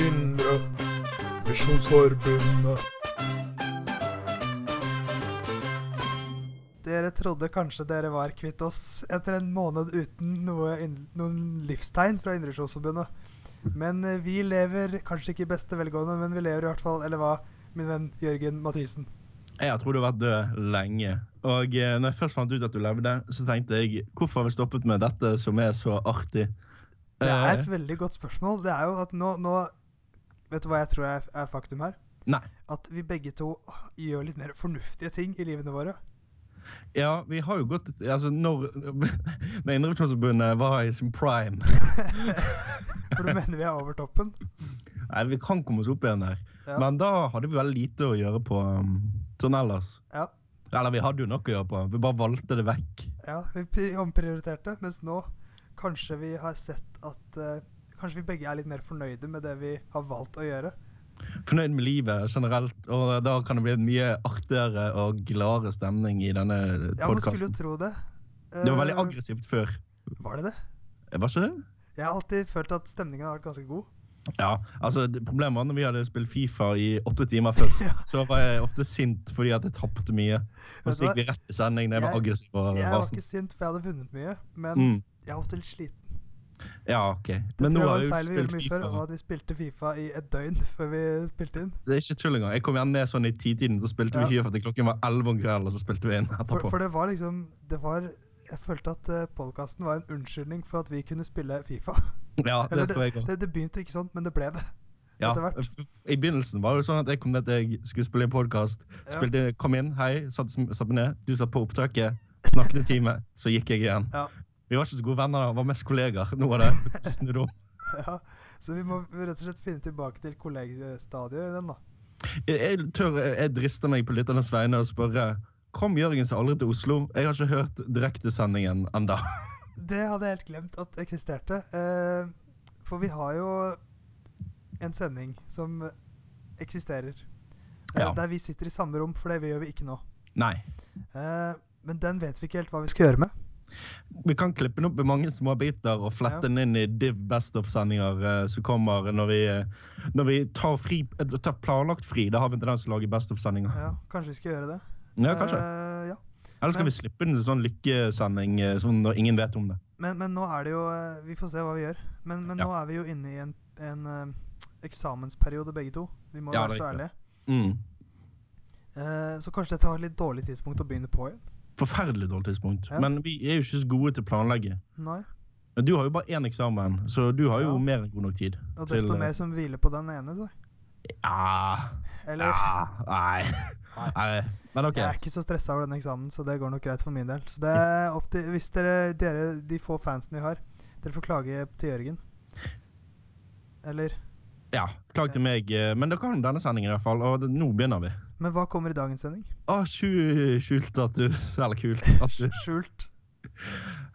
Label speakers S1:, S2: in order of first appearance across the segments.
S1: Indre Misjonsforbundet.
S2: Dere trodde kanskje dere var kvitt oss etter en måned uten noe, inn- noen livstegn fra Indremisjonsforbundet. Men eh, vi lever kanskje ikke i beste velgående, men vi lever i hvert fall, eller hva, min venn Jørgen Mathisen?
S3: Jeg tror du har vært død lenge. Og eh, når jeg først fant ut at du levde, så tenkte jeg hvorfor har vi stoppet med dette som er så artig?
S2: Det er et
S3: Eh,
S2: veldig godt spørsmål. Det er jo at nå, nå Vet du hva jeg tror er, er faktum her?
S3: Nei.
S2: At vi begge to gjør litt mer fornuftige ting i livene våre.
S3: Ja, vi har jo gått altså, Når, når Indremisjonsforbundet var i sin prime
S2: For du mener vi er over toppen?
S3: Nei, vi kan komme oss opp igjen der.
S2: Ja.
S3: Men da hadde vi veldig lite å gjøre på um, sånn ellers.
S2: Ja.
S3: Eller vi hadde jo nok å gjøre på, vi bare valgte det vekk.
S2: Ja, vi pri- omprioriterte. Mens nå kanskje vi har sett at eh, Kanskje vi begge er litt mer fornøyde med det vi har valgt å gjøre.
S3: Fornøyd med livet generelt, og da kan det bli en mye artigere og gladere stemning i denne
S2: Ja, man skulle jo
S3: podkasten.
S2: tro det.
S3: Det var veldig
S2: Eh,
S3: aggressivt før.
S2: Var det det?
S3: Var ikke det?
S2: Jeg har alltid følt at stemningen har vært ganske god.
S3: Ja, altså det- Problemet var når vi hadde spilt Fifa i åtte timer først.
S2: Ja.
S3: Så var jeg ofte sint fordi at jeg tapte mye. Og
S2: Vet du
S3: så gikk vi rett i sending da jeg var
S2: Jeg-
S3: aggressiv og
S2: Jeg var
S3: rasende.
S2: ikke sint, for jeg hadde vunnet mye, men
S3: Mm.
S2: jeg har vært litt sliten.
S3: Ja, OK.
S2: Det
S3: Men nå
S2: tror jeg
S3: har
S2: var
S3: jeg
S2: en
S3: jo
S2: feil vi
S3: spilt
S2: gjorde mye
S3: Fifa.
S2: før, og at vi spilte Fifa i et døgn før vi spilte inn.
S3: Det er ikke tull engang. Jeg kom igjen ned sånn i titiden, så spilte vi
S2: Ja.
S3: Fifa til klokken var 11 om kvelden, og så spilte vi inn etterpå.
S2: For, for det var liksom Det var Jeg følte at podkasten var en unnskyldning for at vi kunne spille Fifa.
S3: ja, det
S2: Eller
S3: tror jeg også.
S2: Det, det begynte ikke sånn, men det ble det.
S3: Ja.
S2: etter hvert.
S3: f- I begynnelsen var det jo sånn at jeg kom ned til jeg skulle spille inn podkast.
S2: Ja.
S3: Kom inn, hei, satt, satt meg ned, du satt på opptaket, snakket en time, så gikk jeg igjen.
S2: Ja.
S3: Vi var ikke så gode venner da, vi var mest kolleger. Nå er det snudd om.
S2: Ja, så vi må rett og slett finne tilbake til kollegestadiet i den, da.
S3: Jeg, jeg, tør, jeg drister meg på lytternes vegne og spørre Kom Jørgens aldri til Oslo? Jeg har ikke hørt direktesendingen enda.
S2: Det hadde jeg helt glemt at eksisterte. Eh, for vi har jo en sending som eksisterer. Eh,
S3: Ja.
S2: Der vi sitter i samme rom, for det gjør vi ikke nå.
S3: Nei.
S2: Eh, men den vet vi ikke helt hva vi skal gjøre med.
S3: Vi kan klippe den opp i mange små biter og flette
S2: Ja.
S3: den inn i Div Best of-sendinger eh, som kommer når vi, eh, når vi tar, fri, eh, tar planlagt fri. Da har vi en tendens til å lage Best of-sendinger.
S2: Ja, Kanskje vi skal gjøre det.
S3: Ja, kanskje.
S2: Eh, ja.
S3: Eller skal
S2: men-
S3: vi slippe den til sånn lykkesending eh, sånn når ingen vet om det?
S2: men, men nå er det jo eh, Vi får se hva vi gjør. Men, men
S3: Ja.
S2: nå er vi jo inne i en, en eh, eksamensperiode, begge to. Vi må
S3: Ja,
S2: være
S3: det er
S2: så
S3: riktig.
S2: ærlige.
S3: Mm.
S2: Eh, så kanskje dette var et litt dårlig tidspunkt å begynne på igjen.
S3: Forferdelig dårlig tidspunkt.
S2: Ja.
S3: Men vi er jo ikke så gode til å planlegge.
S2: Nei.
S3: Men Du har jo bare én eksamen, så du har jo
S2: Ja.
S3: mer enn god nok tid.
S2: Og
S3: til,
S2: desto
S3: eh,
S2: mer som hviler på den ene, da.
S3: Ja
S2: Eller
S3: ja, nei. nei. Men OK. Mm.
S2: Jeg er ikke så stressa over den eksamen, så det går nok greit for min del. Så det er opp til Hvis dere, dere de få fansene vi har, dere får klage til Jørgen. Eller
S3: Ja, Klag til meg. eh, Men dere har nå denne sendingen, i hvert fall. Og det, nå begynner vi.
S2: Men hva kommer i dagens sending?
S3: Å, sju- skjult at du Eller kult at du
S2: Skjult.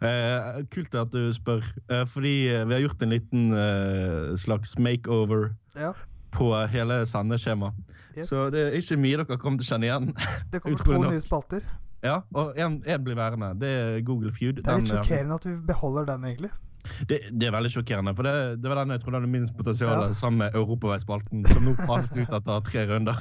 S3: eh, Kult at du spør. Eh, fordi eh, vi har gjort en liten eh, slags makeover
S2: Ja.
S3: på hele sendeskjemaet.
S2: Yes.
S3: Så det er ikke mye dere kommer til å kjenne igjen.
S2: det kommer to
S3: utrolig nok.
S2: nye spalter.
S3: ja, Og en, en blir værende. Det er Google Feud.
S2: Det er litt
S3: Den, eh,
S2: sjokkerende at vi beholder den, egentlig.
S3: Det, det er veldig sjokkerende, for det, det var den jeg trodde hadde minst potensial,
S2: Ja.
S3: sammen med Europaveispalten, som nå fases ut etter tre runder.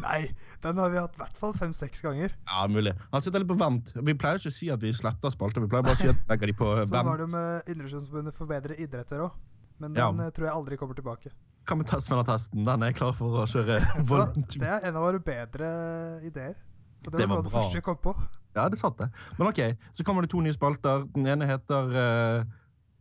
S2: Nei, den har vi hatt i hvert fall fem-seks ganger.
S3: Ja, mulig. Han sitter litt på vent. Vi pleier ikke å si at vi sletter spalter, vi pleier bare å si at vi legger de på
S2: Sånn var det
S3: vent.
S2: jo med Indremisjonsforbundet for bedre idretter òg. Men
S3: Ja.
S2: den eh, tror jeg aldri kommer tilbake.
S3: Hva med Testsvennertesten? Den er jeg klar for å kjøre.
S2: Så
S3: voldent.
S2: det er en av våre bedre ideer. Og det,
S3: Det
S2: var noe
S3: var
S2: av det
S3: bra, altså.
S2: første jeg kom på.
S3: Ja, det satt det. Men ok, så kommer det to nye spalter. Den ene heter eh,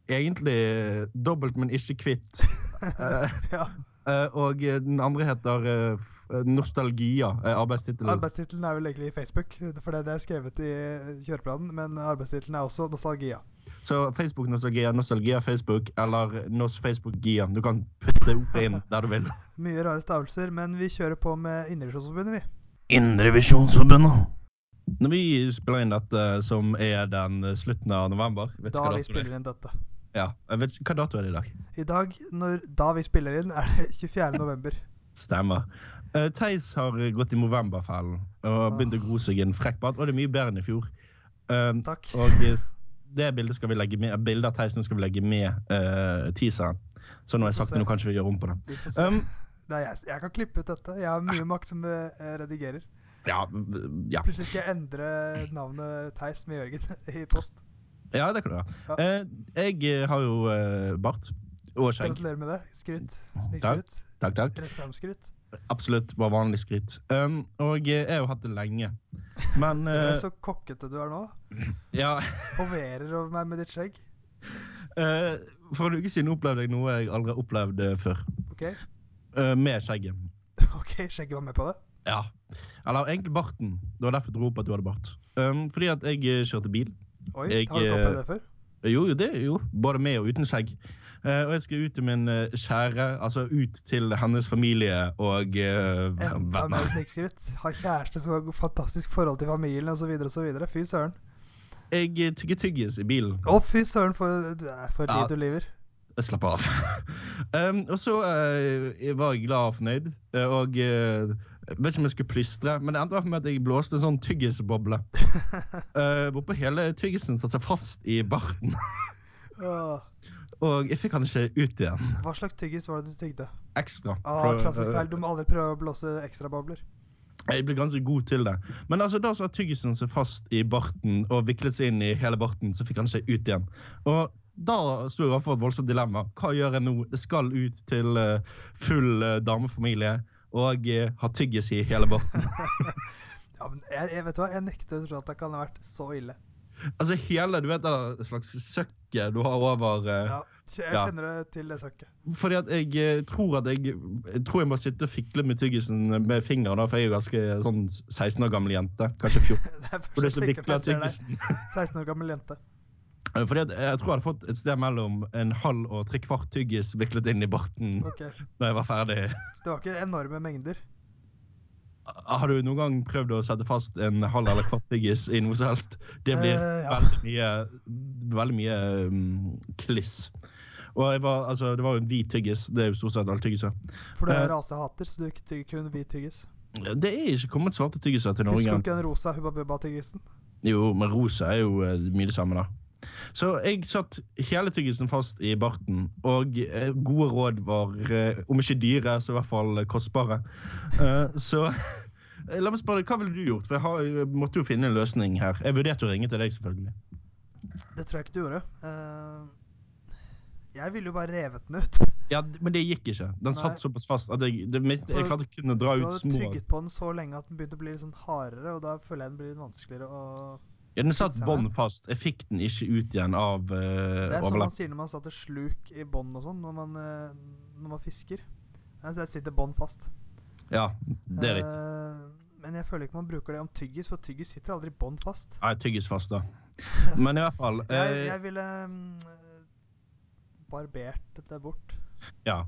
S3: egentlig Dobbelt, men ikke kvitt. Eh,
S2: Ja.
S3: eh, og den andre heter eh, f- Nostalgia, uh, arbeidstittelen.
S2: Arbeidstittelen er vel egentlig i Facebook, for det det er skrevet i kjøreplanen. Men arbeidstittelen er også nostalgia.
S3: Så Facebook Nostalgia, Nostalgia Facebook eller Nos Facebook Gia. Du kan putte ordet inn der du vil.
S2: Mye rare stavelser, men vi kjører på med Indremisjonsforbundet, vi.
S3: Indrevisjonsforbundet. Når vi spiller inn dette, eh, som er den eh, slutten av november vet
S2: Da vi
S3: ikke hva dato det er.
S2: spiller inn dette.
S3: Ja, jeg vet ikke, Hva dato er det i dag?
S2: I dag, når da vi spiller inn, er det 24. november.
S3: Stemmer. Uh, Theis har gått i Movemberfellen
S2: Ah.
S3: og begynt å gro seg en frekk bart. Og det er mye bedre enn i fjor. Eh,
S2: Takk.
S3: og eh, det bildet skal vi legge med, bildet av Theis nå skal vi legge med uh, teaseren. Så nå
S2: Vi
S3: har jeg
S2: får
S3: sagt det,
S2: se.
S3: nå kan ikke vi gjøre om på det.
S2: Vi får se.
S3: Um,
S2: Det er jeg, s- jeg kan klippe ut dette. Jeg har mye makt som eh, redigerer.
S3: ja, v- ja.
S2: Plutselig skal jeg endre navnet Theis med Jørgen i post.
S3: ja, det kan du gjøre. Eh, jeg har jo eh, bart og skjegg.
S2: Gratulerer med det. Skryt.
S3: Takk.
S2: Snikskryt.
S3: Takk, takk.
S2: Rett fram-skryt.
S3: Absolutt bare vanlig skritt. Um, og eh, jeg har jo hatt det lenge. Men eh,
S2: Så kokkete du er nå.
S3: ja,
S2: Hoverer over meg med ditt skjegg.
S3: eh, for en uke siden opplevde jeg noe jeg aldri har opplevd eh, før.
S2: OK,
S3: Eh, med skjegget.
S2: Ok, skjegget var med på det.
S3: Ja. Eller egentlig barten. Det var derfor jeg dro opp at du hadde bart. Um, fordi at jeg eh, kjørte bil.
S2: Oi,
S3: Jeg, eh,
S2: har du ikke opplevd det før?
S3: Jo, jo, det jo. Både med og uten skjegg. Eh, og jeg skal ut til min eh, kjære, altså ut til hennes familie og eh,
S2: Enda
S3: venner.
S2: mer snikskryt. Har kjæreste som har fantastisk forhold til familien osv. videre Fy søren.
S3: Jeg eh, tygger tyggis i bilen.
S2: Å, fy søren, for, det er for et
S3: Ja.
S2: liv du lever.
S3: Slapp av. um, og så eh, var jeg glad og fornøyd. eh, Og eh, jeg vet ikke om jeg skulle plystre, men det endte i hvert fall med at jeg blåste en sånn tyggisboble. Eh, hvorpå hele tyggisen satte seg fast i barten,
S2: Åh.
S3: og jeg fikk han ikke ut igjen.
S2: Hva slags tyggis var det du tygde?
S3: Ekstra.
S2: Ah,
S3: For,
S2: klassisk
S3: eh,
S2: feil. Du må aldri prøve å blåse ekstrabobler.
S3: Jeg ble ganske god til det. Men altså, da så var tyggisen seg fast i barten og viklet seg inn i hele barten, så fikk han seg ut igjen. Og da sto jeg overfor et voldsomt dilemma. Hva gjør jeg nå? Jeg skal ut til eh, full eh, damefamilie og eh, ha tyggis i hele barten.
S2: Ja, men jeg, jeg vet du hva, jeg nekter å tro at det kan ha vært så ille.
S3: altså hele, du vet det slags søkket du har over eh,
S2: Ja, jeg
S3: Ja.
S2: kjenner det til det søkket.
S3: Fordi at jeg eh, tror at jeg Jeg tror jeg må sitte og fikle med tyggisen med fingeren, da, for jeg er jo ganske sånn 16 år gammel jente. Kanskje 14.
S2: Det er
S3: For det
S2: første
S3: som
S2: stikket
S3: vikler
S2: jeg ser deg.
S3: tyggisen.
S2: 16 år gammel jente.
S3: Eh, Fordi at Jeg tror jeg hadde fått et sted mellom en halv og tre kvart tyggis viklet inn i barten
S2: Ok,
S3: da jeg var ferdig.
S2: Så det var ikke enorme mengder.
S3: Har du noen gang prøvd å sette fast en halv eller kvart tyggis i noe som helst? Det blir
S2: Eh, ja.
S3: veldig mye, veldig mye mm, kliss. Og jeg var, altså, Det var jo en hvit tyggis. Det er jo stort sett alle tyggiser.
S2: For du
S3: Eh.
S2: er rasehater, så du ikke tygger kun hvit tyggis.
S3: Det er ikke kommet svarte tyggiser til Norge.
S2: Husker du
S3: igjen.
S2: ikke den rosa Hubba Bubba-tyggisen?
S3: Jo, men rosa er jo eh, mye det samme, da. Så jeg satt hele tyggisen fast i barten, og eh, gode råd var, eh, om ikke dyre, så i hvert fall eh, kostbare. Eh, så eh, la meg spørre, hva ville du gjort? For jeg, har, jeg måtte jo finne en løsning her. Jeg vurderte å ringe til deg, selvfølgelig.
S2: Det tror jeg ikke du gjorde. Eh, jeg ville jo bare revet den ut.
S3: Ja, d- Men det gikk ikke. Den
S2: Nei.
S3: satt såpass fast at jeg, det, minste- jeg klarte å kunne dra
S2: Du
S3: ut
S2: hadde
S3: små
S2: tygget på den så lenge at den begynte å bli litt sånn hardere, og da føler jeg den blir litt vanskeligere å
S3: ja, Den satt
S2: Fikser
S3: bånd fast. Jeg fikk den ikke ut igjen av
S2: Det
S3: uh,
S2: er sånn man
S3: overlapp.
S2: sier når man satte sluk i bånd og sånn, når, man, eh, når man fisker. Altså, Der sitter bånd fast.
S3: Ja, det er riktig.
S2: Eh, men jeg føler ikke man bruker det om tyggis, for tyggis sitter aldri bånd fast.
S3: Nei, tyggis fast, da. Men i hvert fall
S2: Jeg,
S3: eh,
S2: jeg ville mm, eh, barbert det bort.
S3: Ja.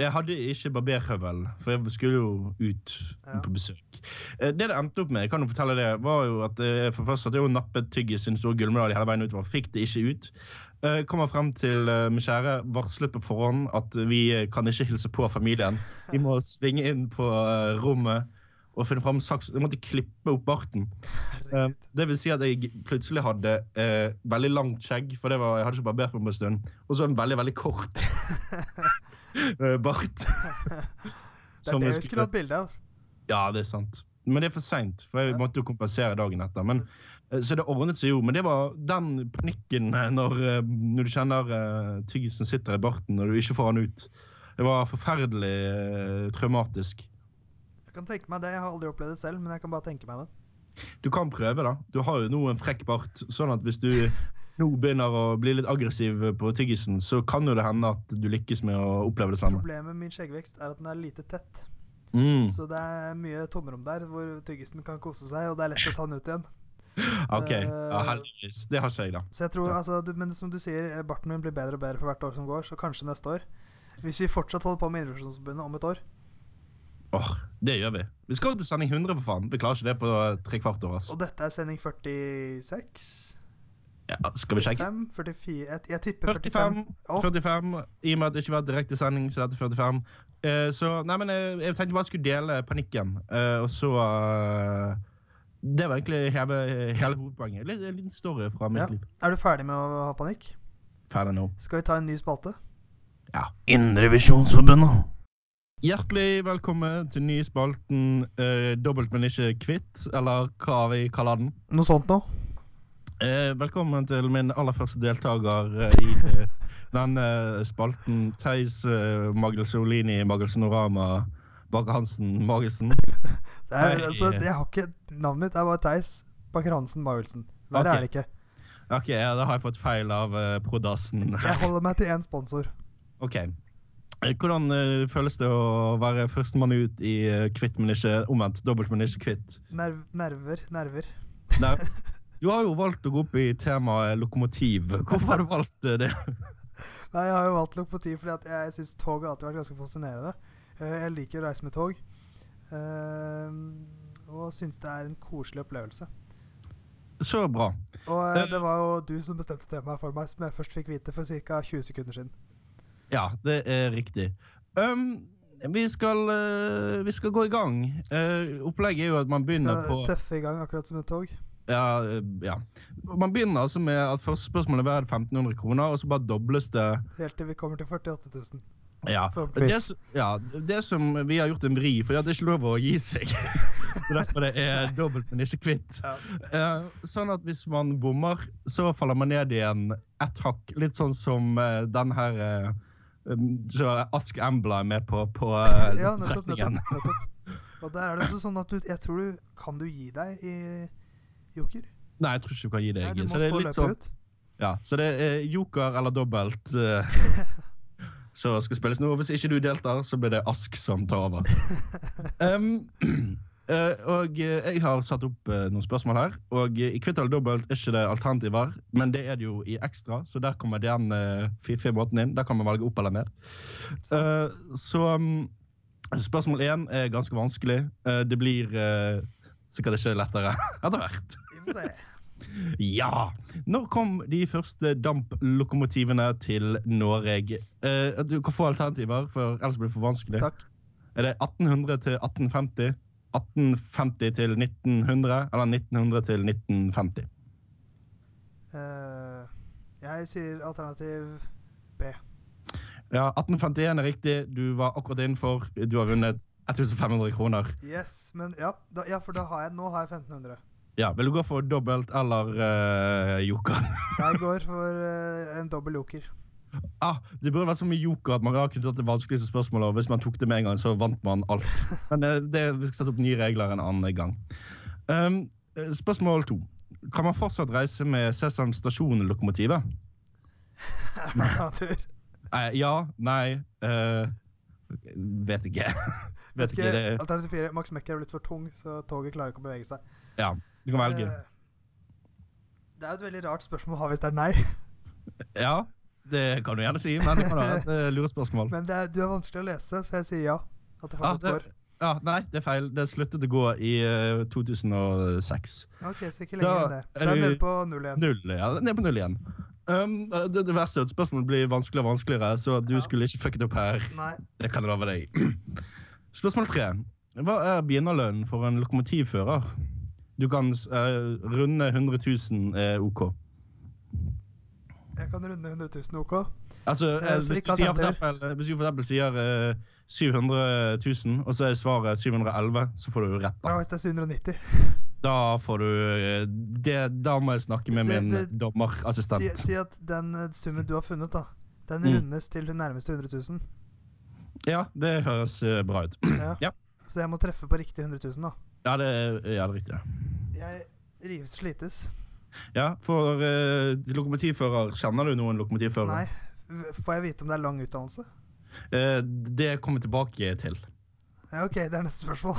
S3: Jeg hadde ikke barberhøvel, for jeg skulle jo ut
S2: Ja.
S3: på besøk. Eh, Det det endte opp med, jeg kan jo fortelle det, var jo at eh, for først at jeg jo nappet tyggis i en stor gullmedalje hele veien utover. Fikk det ikke ut. Eh, Kommer frem til eh, min kjære, varslet på forhånd at vi eh, kan ikke hilse på familien. Vi må svinge inn på eh, rommet og finne fram saks. Jeg måtte klippe opp barten. Eh,
S2: Herregud.
S3: Det vil si at jeg plutselig hadde eh, veldig langt skjegg, for det var, jeg hadde ikke barbert meg på en stund, og så en veldig, veldig kort eh, bart.
S2: Det er det vi skulle hatt bilde av.
S3: Ja, det er sant. Men det er for seint, for jeg
S2: Ja.
S3: måtte jo kompensere dagen etter. Men, eh, så det ordnet seg jo. Men det var den panikken eh, når, eh, når du kjenner eh, tyggisen sitter i barten og du ikke får den ut. Det var forferdelig eh, traumatisk.
S2: Jeg kan tenke meg det, jeg har aldri opplevd det selv, men jeg kan bare tenke meg det.
S3: Du kan prøve, da. Du har jo nå en frekk bart, sånn at hvis du nå begynner å bli litt aggressiv på tyggisen, så kan jo det hende at du lykkes med å oppleve det samme.
S2: Problemet med min skjeggvekst er at den er lite tett,
S3: Mm.
S2: så det er mye tomrom der hvor tyggisen kan kose seg, og det er lett å ta den ut igjen.
S3: OK.
S2: eh,
S3: Ja, heldigvis. Det har ikke jeg, da.
S2: Så jeg tror,
S3: Ja.
S2: altså, du, men som du sier, eh, barten min blir bedre og bedre for hvert år som går, så kanskje neste år. Hvis vi fortsatt holder på med Idrettsforbundet om et år.
S3: Åh, Det gjør vi. Vi skal jo til sending 100, for faen. Vi klarer ikke det på tre kvart år. altså.
S2: Og dette er sending 46?
S3: Ja, skal vi sjekke?
S2: 45? 44? Jeg, jeg tipper 45.
S3: 45. 45. I og med at det ikke var direkte sending, så dette er 45. Eh, så Nei, men jeg, jeg tenkte bare jeg skulle dele panikken, eh, og så eh, Det var egentlig hele, hele hovedpoenget. Litt, en liten story fra mitt
S2: Ja.
S3: liv.
S2: Er du ferdig med å ha panikk?
S3: Ferdig nå.
S2: Skal vi ta en ny spalte?
S3: ja, Indrevisjonsforbundet. Hjertelig velkommen til ny spalten eh, Dobbelt, men ikke kvitt, eller hva vi kaller den.
S2: Noe sånt noe?
S3: Eh, velkommen til min aller første deltaker eh, i eh, denne spalten. Theis eh, Magelsolini Magelsonorama Baker Hansen Magelsen.
S2: Det er,
S3: Nei.
S2: altså, jeg har ikke, navnet mitt er bare Theis Bakker Hansen Magelsen. Verre
S3: Ok.
S2: er det ikke.
S3: Ok, ja, da har jeg fått feil av eh, prodassen.
S2: Jeg holder meg til én sponsor.
S3: Ok. Eh, Hvordan eh, føles det å være førstemann ut i eh, kvitt, men ikke omvendt? Dobbelt, men ikke kvitt?
S2: Nerv, nerver, nerver.
S3: Nei. Du har jo valgt å gå opp i temaet lokomotiv. Hvorfor har du valgt eh, det?
S2: Nei, jeg har jo valgt lokomotiv fordi at jeg syns tog har alltid vært ganske fascinerende. Eh, Jeg liker å reise med tog. eh, Og syns det er en koselig opplevelse.
S3: Så bra.
S2: Og eh,
S3: Eh.
S2: det var jo du som bestemte temaet for meg, som jeg først fikk vite for ca. 20 sekunder siden.
S3: Ja, det er riktig. Um, vi, skal, eh, vi skal gå i gang. Eh, opplegget er jo at man begynner
S2: Skal
S3: på
S2: tøffe i gang akkurat som et tog.
S3: ja, eh, ja. Man begynner altså med at første spørsmål er verdt 1500 kroner, og så bare dobles det.
S2: Helt til vi kommer til 48 000.
S3: Ja.
S2: Forhåpentligvis.
S3: Det, s- ja, det som vi har gjort en vri, for det er ikke lov å gi seg. Så Derfor det er dobbelt, men ikke kvitt.
S2: Ja.
S3: Eh, sånn at hvis man bommer, så faller man ned igjen ett hakk. Litt sånn som eh, den her eh, um, så Ask Embla er med på, på eh,
S2: Ja, nettopp,
S3: trekningen.
S2: nettopp, nettopp. Og der er det også sånn at du Jeg tror du Kan du gi deg i joker?
S3: Nei, jeg tror ikke du kan gi det.
S2: Nei, du
S3: Egil.
S2: må
S3: Så
S2: stå
S3: det er
S2: og
S3: litt
S2: løpe
S3: sånn,
S2: ut.
S3: ja, så det er joker eller dobbelt eh, som skal spilles nå. Og Hvis ikke du deltar, så blir det Ask som tar over. Em, eh, og eh, jeg har satt opp eh, noen spørsmål her. Og eh, i kvitt eller dobbelt er ikke det alternativer, men det er det jo i ekstra, så der kommer den eh, fiffige måten inn. Der kan man velge opp eller ned. Eh, så mm, spørsmål én er ganske vanskelig. Eh, det blir eh, sikkert ikke lettere etter hvert.
S2: Vi får se.
S3: Ja! Når kom de første damplokomotivene til Norge? Eh, du kan få alternativer, for ellers blir det for vanskelig.
S2: Takk.
S3: Er det 1800 til 1850? 1850 til 1900? Eller 1900 til 1950?
S2: Eh, jeg sier alternativ B.
S3: Ja, 1851 er riktig. Du var akkurat innenfor. Du har vunnet 1500 kroner.
S2: Yes, men ja, da, ja for da har jeg, nå har jeg 1500.
S3: Ja, Vil du gå for dobbelt eller eh, joker?
S2: Jeg går for eh, en dobbel joker.
S3: Ah, det burde vært så mye joker at man har kunnet tatt det vanskeligste spørsmålet, og hvis man tok det med en gang, så vant man alt. Men eh, det, vi skal sette opp nye regler en annen gang. Um, eh, spørsmål to. Kan man fortsatt reise med Sesam stasjon-lokomotivet?
S2: Alternativer.
S3: Eh, ja, nei eh, Vet ikke. vet ikke. Det, er-
S2: Alternativ 4. Max Mekker er blitt for tung, så toget klarer ikke å bevege seg.
S3: ja, du kan velge.
S2: Eh, det er jo et veldig rart spørsmål å ha hvis det er nei,
S3: Ja, det kan du gjerne si, men det kan være et eh, lurespørsmål.
S2: men det er, du er vanskelig å lese, så jeg sier ja. At det
S3: Ja,
S2: fortsatt
S3: det, ja, nei, det er feil. Det sluttet å gå i eh, 2006.
S2: går. OK, så ikke lenger
S3: Da
S2: enn det.
S3: er
S2: Da er vi
S3: du-
S2: nede på null igjen.
S3: Null, ja. Ned på null igjen. Um, det, det verste er at spørsmålet blir vanskeligere og vanskeligere, så du
S2: Ja.
S3: skulle ikke fucket opp her.
S2: Nei.
S3: Det kan jeg love deg. Spørsmål tre. Hva er begynnerlønnen for en lokomotivfører? Du kan s- eh, runde 100 000 er OK.
S2: Jeg kan runde 100 000 OK.
S3: Altså,
S2: Eh,
S3: eh,
S2: så
S3: hvis,
S2: ikke
S3: du sier for
S2: alternativ.
S3: eksempel, hvis du for eksempel sier eh, 700 000, og så er svaret 711, så får du jo rett.
S2: Ja,
S3: Da
S2: hvis det er 790.
S3: Da får du eh, det, Da må jeg snakke med
S2: Det-
S3: min
S2: det- Si,
S3: dommerassistent.
S2: si at den eh, summen du har funnet, da, den
S3: Mm.
S2: rundes til det nærmeste 100 000.
S3: Ja, det høres eh, bra ut.
S2: Ja.
S3: Ja.
S2: Så jeg må treffe på riktig 100 000, da.
S3: Ja, det er, ja, det er riktig.
S2: Jeg rives slites.
S3: Ja, for eh, lokomotivfører, kjenner du noen lokomotivfører?
S2: Nei. V- Får jeg vite om det er lang utdannelse?
S3: Eh, det kommer jeg tilbake til.
S2: Ja, OK, det er neste spørsmål.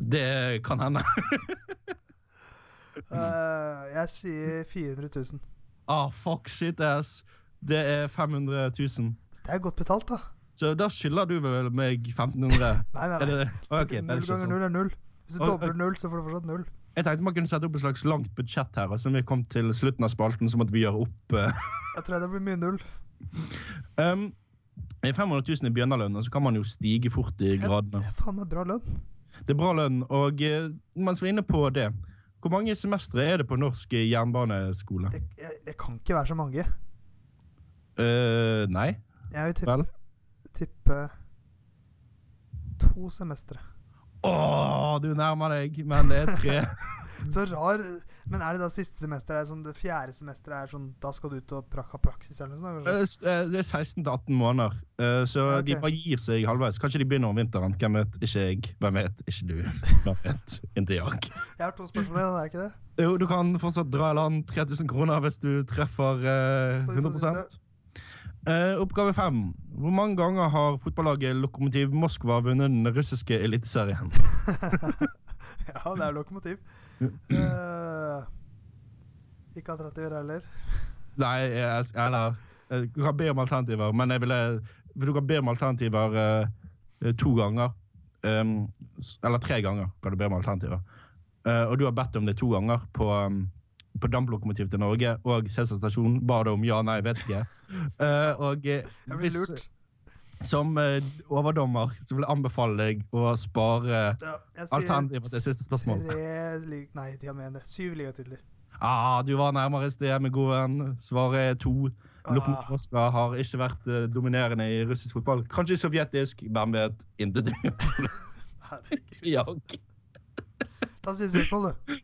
S3: Det kan hende.
S2: Eh, jeg sier 400 000.
S3: Ah, fuck shit ass. Det er 500 000.
S2: Så det er godt betalt, da.
S3: Så da skylder du vel meg 1500?
S2: Nei, nei,
S3: Er
S2: nei.
S3: det, ok, det er
S2: null
S3: ikke
S2: ganger
S3: sånn.
S2: null er null. Hvis du
S3: Oi, oi.
S2: dobler null, så får du fortsatt null.
S3: Jeg tenkte man kunne sette opp et slags langt budsjett her, og så når vi kom til slutten av spalten, så måtte vi gjøre opp. eh.
S2: Jeg tror det blir mye null.
S3: Um, 500 000 i begynnerlønn, og så kan man jo stige fort i gradene.
S2: Det er faen meg bra lønn.
S3: Det er bra lønn, og eh, mens vi er inne på det, hvor mange semestre er det på norsk eh, jernbaneskole?
S2: Det, jeg, det kan ikke være så mange.
S3: Eh, nei,
S2: Jeg vil tippe
S3: vel?
S2: tippe to semestre.
S3: Åh, du nærmer deg, men det er tre. Mm.
S2: Så rar Men er det da siste semester er sånn det fjerde semesteret er sånn Da skal du ut og prak ha praksis eller noe sånt?
S3: Eh, s- eh, Det er 16 til 18 måneder, eh, så
S2: Ja, ok.
S3: de bare gir seg halvveis. Kanskje de begynner om vinteren. Hvem vet? Ikke jeg. Hvem vet? Ikke du. Hvem vet? Ikke jeg.
S2: kanskje? Jeg har to spørsmål igjen, er det ikke det?
S3: Jo, du kan fortsatt dra i land 3000 kroner hvis du treffer eh, 100 Eh, Oppgave fem. Hvor mange ganger har fotballaget Lokomotiv Moskva vunnet den russiske eliteserien?
S2: Ja, det er lokomotiv. Eh, ikke alternativer heller.
S3: Nei, jeg, eller eh, Du kan be om alternativer, men jeg ville for Du kan be om alternativer eh, to ganger. Em, s- eller tre ganger kan du be om alternativer. Eh, og du har bedt om det to ganger på, um, på damplokomotiv til Norge og Cæsar stasjon. Ba det om ja, nei, vet ikke. Eh, og eh,
S2: Jeg blir
S3: hvis,
S2: lurt.
S3: som eh, overdommer så vil jeg anbefale deg å spare
S2: Ja, jeg sier
S3: alternativer til siste spørsmål.
S2: Tre lig Nei, de har mer enn det. Syv ligatitler.
S3: Ah, du var nærmere i sted med god venn. Svaret er to. Lokomotiv Moskva har ikke vært eh, dominerende i russisk fotball. Kanskje i sovjetisk, hvem vet. Intet.
S2: Herregud.
S3: ja.
S2: Ta siste spørsmål, du.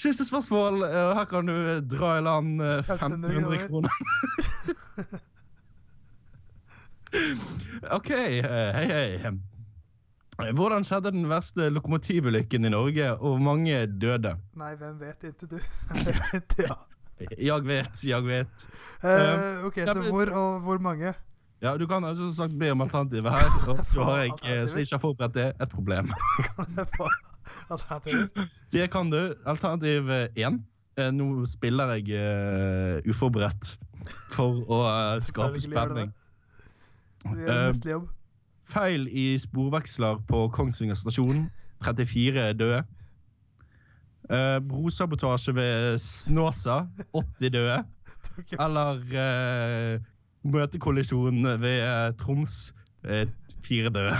S3: Siste spørsmål. eh, Her kan du eh, dra i land eh, 1500
S2: 1500
S3: kroner. OK. eh, Hei, hei. Hvordan skjedde den verste lokomotivulykken i Norge, og hvor mange døde?
S2: Nei, hvem vet? Inntil du. Jeg vet ikke, ja.
S3: Jeg vet, jeg vet.
S2: Eh, OK,
S3: ja,
S2: så
S3: men-
S2: hvor og hvor mange?
S3: Ja, Du kan altså som sagt be om alternativet her, og så har jeg eh, så jeg ikke har forberedt det. Et problem.
S2: Kan jeg få alternativer?
S3: Det kan du. Alternativ én. Nå spiller jeg eh, uforberedt for å eh, skape
S2: Selvfølgelig gjør du
S3: spenning.
S2: det. Vi gjør
S3: Eh,
S2: en mesterlig jobb.
S3: Feil i sporveksler på Kongsvinger stasjon. 34 døde. Eh, brosabotasje ved Snåsa. 80 døde.
S2: Takk.
S3: Eller eh, møtekollisjon ved eh, Troms. eh, Fire døde.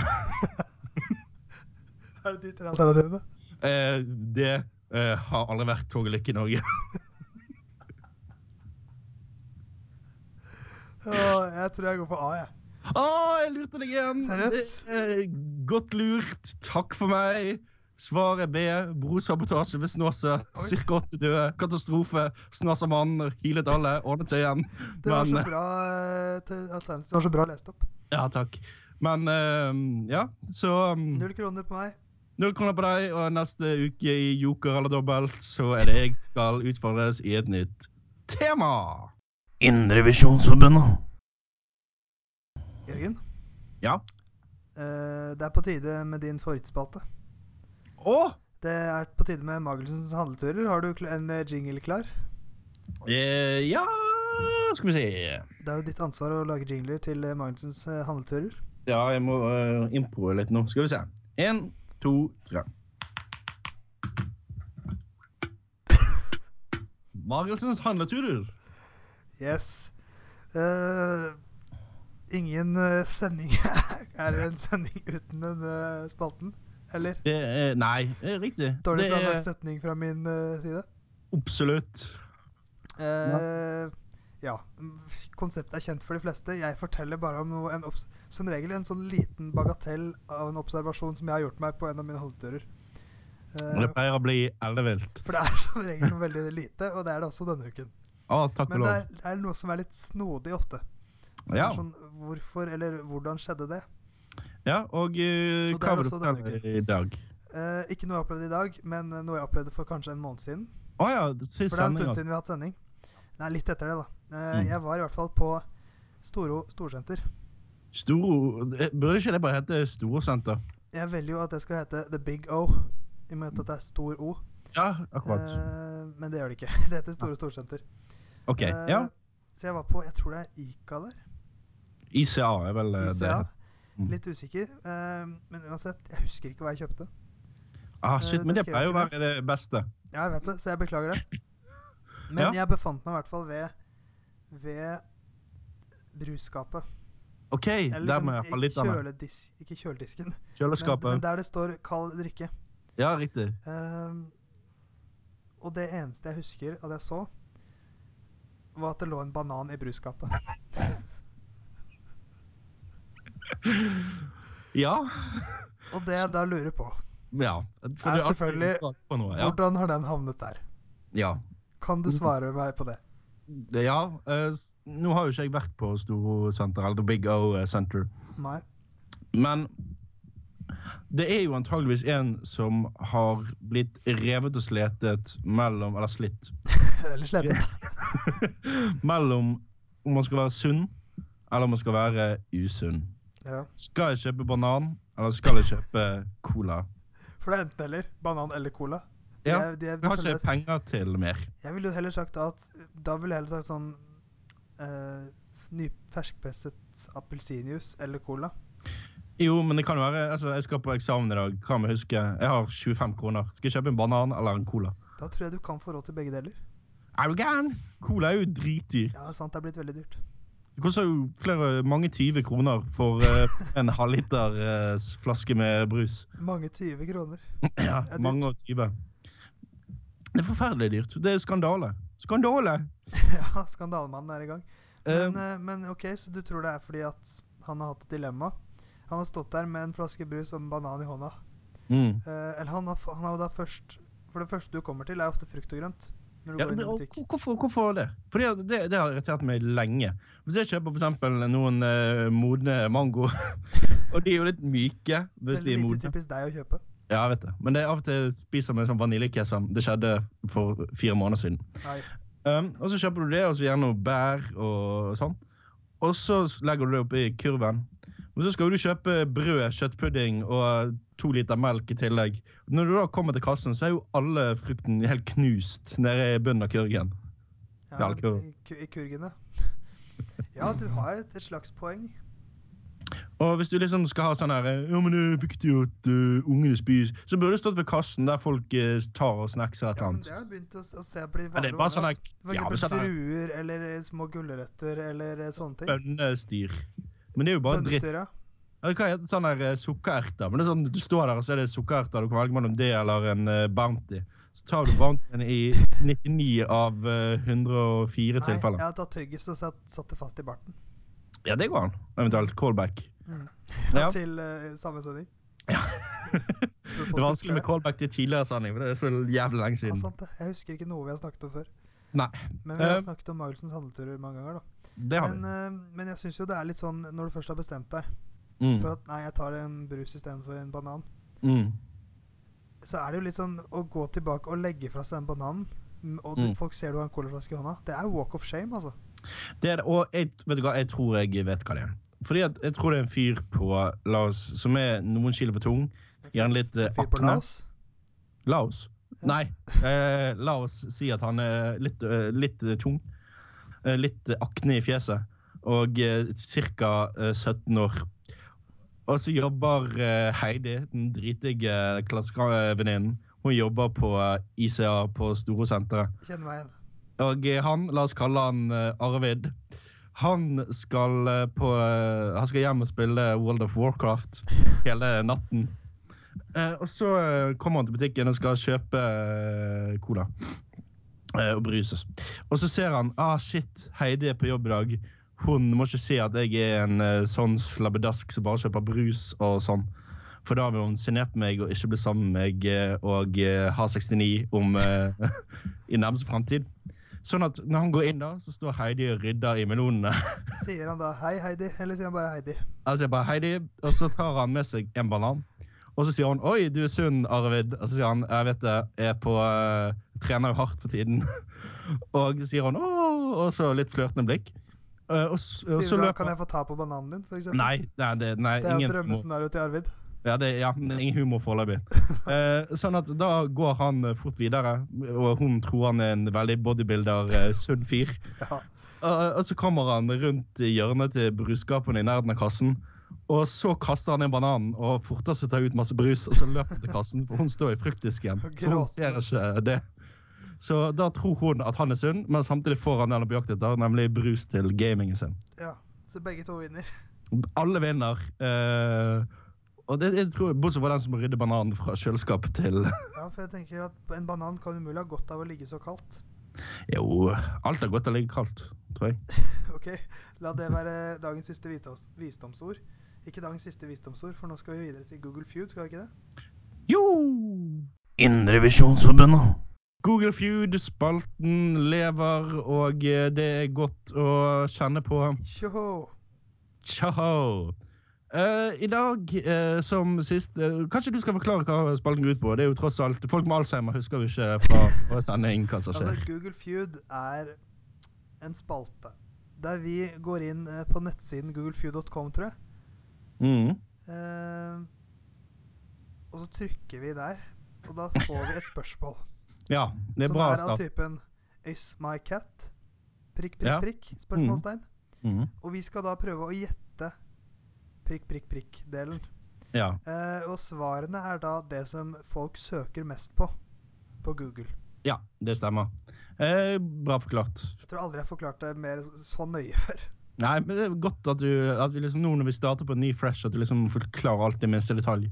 S2: Er det de tre alternativene?
S3: Eh, det eh, har aldri vært togulykke i Norge.
S2: Åh, jeg tror jeg går for A, jeg.
S3: Å, jeg lurte deg igjen!
S2: Seriøst?
S3: Eh, godt lurt. Takk for meg. Svaret B. Brosabotasje ved Snåsa.
S2: Oi.
S3: Cirka 80 døde. Katastrofe. Snasamann hylet alle. Ordnet seg igjen.
S2: Det var
S3: Men,
S2: så bra eh, til alternativ. Det var så bra lest opp.
S3: ja, takk. Men eh, ja, så um,
S2: Null kroner på meg.
S3: Null kroner på deg, og neste uke i Joker eller dobbelt, så er det jeg skal utfordres i et nytt tema.
S1: Indrevisjonsforbundet.
S2: Jørgen,
S3: Ja.
S2: eh, det er på tide med din favorittspalte.
S3: Å!
S2: Det er på tide med Magelsens handleturer. Har du kl- en eh, jingle klar?
S3: Eh, ja Skal vi se.
S2: Det er jo ditt ansvar å lage jingler til eh, Magelsens eh, handleturer.
S3: Ja, jeg må uh, improe litt nå. Skal vi se. Én, to, tre. Magelsens handleturer.
S2: Yes. Eh, ingen eh, sending er en sending uten den eh, spalten. Eller?
S3: Det er, nei, det er riktig.
S2: Dårlig
S3: det er
S2: planlagt setning fra min eh, side.
S3: absolutt.
S2: Eh, ja. m, Konseptet er kjent for de fleste. Jeg forteller bare om noe, en obs som regel en sånn liten bagatell av en observasjon som jeg har gjort meg på en av mine holdeturer. Eh,
S3: Og det pleier å bli ellevilt.
S2: for det er som regel noe veldig lite, og det er det også denne uken.
S3: Å, takk og
S2: Men det
S3: lov.
S2: er, det er noe som er litt snodig ofte. Som
S3: Ja.
S2: er sånn, hvorfor eller hvordan skjedde det?
S3: Ja, og eh,
S2: Og det
S3: hva
S2: er
S3: vil du
S2: også denne
S3: fortelle i dag?
S2: Eh, ikke noe jeg opplevde i dag, men eh, noe jeg opplevde for kanskje en måned siden.
S3: Å ja,
S2: For
S3: sist
S2: det er en stund
S3: sending. altså.
S2: siden vi har hatt sending. Nei, litt etter det, da. Eh,
S3: Mm.
S2: Jeg var i hvert fall på Storo storsenter.
S3: Storo eh, Burde ikke det bare hete Storsenter?
S2: Jeg velger jo at det skal hete The Big O, i og med at det er stor O.
S3: Ja, akkurat.
S2: Eh, men det gjør det ikke. Det heter Store Storsenter.
S3: Ah, OK.
S2: Eh,
S3: Ja.
S2: Så jeg var på Jeg tror det er Ica der.
S3: ICA er vel eh, det.
S2: ICA.
S3: Mm.
S2: Litt usikker. eh, men uansett, jeg husker ikke hva jeg kjøpte.
S3: Ah,
S2: Eh,
S3: shit,
S2: det
S3: men det
S2: skrev
S3: pleier jo å
S2: ikke
S3: være det beste.
S2: Ja, jeg vet det, så jeg beklager det. Men
S3: Ja.
S2: jeg befant meg i hvert fall ved Ved brusskapet.
S3: OK, der må jeg ha litt sånn
S2: ikke,
S3: av meg.
S2: kjøledis, ikke kjøledisken, men,
S3: Kjøleskapet.
S2: men der det står 'kald drikke'.
S3: Ja, riktig.
S2: Ehm, og det eneste jeg husker at jeg så, var at det lå en banan i brusskapet.
S3: Ja.
S2: Og det jeg da lurer på,
S3: ja. For
S2: Er
S3: det
S2: selvfølgelig-
S3: akkurat på noe, ja.
S2: hvordan har den havnet der?
S3: Ja.
S2: Kan du svare meg på det?
S3: ja. eh, s- Nå har jo ikke jeg vært på Storo Senter, eller The Big O eh, Center.
S2: Nei.
S3: Men det er jo antageligvis en som har blitt revet og sletet mellom Eller slitt.
S2: Eller slettet.
S3: mellom om man skal være sunn, eller om man skal være usunn.
S2: Ja.
S3: Skal jeg kjøpe banan, eller skal jeg kjøpe cola?
S2: For det er enten eller. Banan eller cola.
S3: Ja,
S2: Jeg, de,
S3: Jeg har
S2: føler-
S3: ikke penger til mer.
S2: jeg ville jo heller sagt at Da ville jeg heller sagt sånn eh, ny ferskpresset appelsinjuice eller cola.
S3: Jo, men det kan jo være altså, Jeg skal på eksamen i dag. Hva må jeg huske? Jeg har 25 kroner. Skal jeg kjøpe en banan eller en cola?
S2: Da tror jeg du kan få råd til begge deler.
S3: Er du gæren? Cola er jo dritdyr.
S2: Ja, det er sant, det er blitt veldig dyrt.
S3: Det koster jo flere, mange 20 kroner for eh, en halvliter eh, s- flaske med brus.
S2: Mange 20 kroner.
S3: Ja,
S2: dyrt.
S3: mange og 20. Det er forferdelig dyrt. Det er skandale. Skandale!
S2: ja, skandalemannen er i gang. Men,
S3: Eh,
S2: eh, men OK, så du tror det er fordi at han har hatt et dilemma? Han har stått der med en flaske brus og en banan i hånda.
S3: mm.
S2: Eh, eller han har, f- han har jo da først For det første du kommer til, er ofte frukt og grønt. Når du
S3: Ja,
S2: går inn
S3: det,
S2: i
S3: og,
S2: butikk.
S3: hvor- hvorfor, hvorfor det? Fordi at det, det har irritert meg lenge. Hvis jeg kjøper for eksempel noen eh, modne mango, og de er jo litt myke hvis de
S2: Veldig
S3: er
S2: lite
S3: modne.
S2: typisk deg å kjøpe.
S3: Ja, jeg vet det. Men det er av og til spiser med sånn vaniljekesam. Det skjedde for fire måneder siden.
S2: Nei.
S3: Um, og så kjøper du det, og så gjerne noe bær og sånn. Og så legger du det oppi kurven. Men så skal du kjøpe brød, kjøttpudding og to liter melk i tillegg. Når du da kommer til kassen, så er jo alle frukten helt knust nede i bunnen av kurven.
S2: Ja,
S3: Ja, ikke-
S2: i, ku- I kurgene. Ja, du har et, et slags poeng.
S3: Og hvis du liksom skal ha sånn her Ja, men det er viktig at eh, ungene spiser Så burde det stått ved kassen der folk eh, tar og snackser et
S2: Ja,
S3: eller
S2: men
S3: annet.
S2: det har jo begynt å, s- å se på de
S3: Ja, det
S2: vanlige
S3: er bare sånn
S2: varene, at
S3: her
S2: For
S3: ja, men
S2: eksempel
S3: sånn her
S2: druer eller eh, små gulrøtter eller eh, sånne ting.
S3: bønnestyr. Men det er jo bare dritt.
S2: Bønnestyr, ja.
S3: Ja, Hva heter sånn her eh, sukkererter? Men det er sånn, Du står der, og så er det sukkererter. Du kan velge mellom det eller en eh, Bounty. Så tar du Bountyen i 99 av eh, 104
S2: Nei, jeg
S3: tilfeller.
S2: har tatt tyggis og satt, satt det fast i barten.
S3: Ja, det går an. Eventuelt callback.
S2: Mm.
S3: Ja.
S2: Til eh, samme sending.
S3: Ja.
S2: det
S3: Det er vanskelig med callback til tidligere sending, for det er så jævlig lenge
S2: Ja,
S3: siden.
S2: sant det. Jeg husker ikke noe vi har snakket om før.
S3: Nei.
S2: Men vi har
S3: Eh,
S2: snakket om Magelsens handelturer mange ganger, da.
S3: Det har
S2: Men,
S3: vi.
S2: eh, men jeg syns jo det er litt sånn når du først har bestemt deg
S3: Mm.
S2: for at nei, jeg tar en brus istedenfor en banan,
S3: Mm.
S2: så er det jo litt sånn å gå tilbake og legge fra seg den bananen, m- og du,
S3: Mm.
S2: folk ser du har en colaflaske i hånda, det er walk of shame, altså.
S3: Det er det, og jeg, vet du hva, jeg tror jeg vet hva det er. Fordi at jeg tror det er en fyr på Laos som er noen kilo for tung. Gjerne litt eh,
S2: En fyr på
S3: akne.
S2: Laos.
S3: Laos?
S2: Ja.
S3: Nei, eh, Laos sier at han er litt, eh, litt eh, tung. Eh, litt eh, akne i fjeset. Og eh, ca. Eh, 17 år. Og så jobber eh, Heidi, den dritige klassevenninnen, hun jobber på eh, ICA på Storosenteret.
S2: Kjenner meg igjen.
S3: Og han, la oss kalle han eh, Arvid, han skal, eh, på, eh, han skal hjem og spille World of Warcraft hele natten. Eh, og så eh, kommer han til butikken og skal kjøpe eh, cola eh, og brus. Og så ser han ah shit, Heidi er på jobb i dag. Hun må ikke se at jeg er en eh, sånn slabbedask som bare kjøper brus og sånn. For da vil hun se ned på meg og ikke bli sammen med meg eh, og eh, ha 69 om eh, i nærmeste framtid. Sånn at når han går inn, da, så står Heidi og rydder i melonene.
S2: Sier han da 'hei, Heidi', eller sier han bare 'Heidi'?
S3: Altså jeg bare Heidi, Og så tar han med seg en banan. Og så sier hun 'oi, du er sunn, Arvid'. Og så sier han 'jeg vet det, jeg er på eh, trener jo hardt for tiden'. og så sier hun 'åh', og så litt flørtende blikk. Eh, og, s- og
S2: Sier
S3: så
S2: du da
S3: løper
S2: 'kan jeg få ta på bananen din', for eksempel?
S3: Nei, nei, det, nei
S2: Det er jo
S3: ingen humor.
S2: drømmescenarioet til Arvid.
S3: Ja, det, ja, men ingen humor foreløpig. Eh, sånn at da går han eh, fort videre, og hun tror han er en veldig bodybuilder, eh, sunn fyr.
S2: Ja.
S3: Eh, Og og så kommer han rundt i hjørnet til brusskapene i nærheten av kassen. Og så kaster han en banan og forter seg å ta ut masse brus, og så løper han til kassen, for hun står i fruktdisken.
S2: Og
S3: Så hun ser
S2: gråter.
S3: ikke det. Så da tror hun at han er sunn, men samtidig får han den han er på jakt etter, nemlig brus til gamingen sin.
S2: ja. Så begge to vinner.
S3: Alle vinner. eh, og det, jeg tror, Bortsett fra den som rydder bananen fra kjøleskapet til
S2: Ja, for jeg tenker at en banan kan umulig ha godt av å ligge så kaldt.
S3: Jo, alt er godt å ligge kaldt, tror jeg.
S2: Ok, la det være dagens siste vitos- visdomsord. Ikke dagens siste visdomsord, for nå skal vi videre til Google Feud, skal vi ikke det?
S3: Jo!
S1: Indrevisjonsforbundet.
S3: Google Feud, spalten lever, og eh, det er godt å kjenne på.
S2: Tjoho!
S3: Ciao! Eh, I dag eh, som sist eh, Kanskje du skal forklare hva spalten går ut på? Det er jo tross alt, Folk med Alzheimer husker jo ikke fra, fra sending hva som skjer.
S2: Altså, Google Feud er en spalte der vi går inn eh, på nettsiden googlefeud.com, tror jeg.
S3: Mm.
S2: Eh, og så trykker vi der, og da får vi et spørsmål.
S3: Ja, det sånn er bra
S2: som er av
S3: start.
S2: typen Is my cat? Prikk, prikk,
S3: Ja.
S2: prikk? Spørsmålstegn.
S3: Mm.
S2: Og vi skal da prøve å gjette prikk, prikk, prikk-delen.
S3: Ja.
S2: Eh, og svarene er da det som folk søker mest på på Google.
S3: ja, det stemmer. Eh, bra forklart.
S2: Jeg tror aldri jeg har forklart det mer så- så nøye før.
S3: Nei, men det er godt at, du, at vi liksom nå når vi starter på en ny fresh, at du liksom forklarer alt i minste detalj.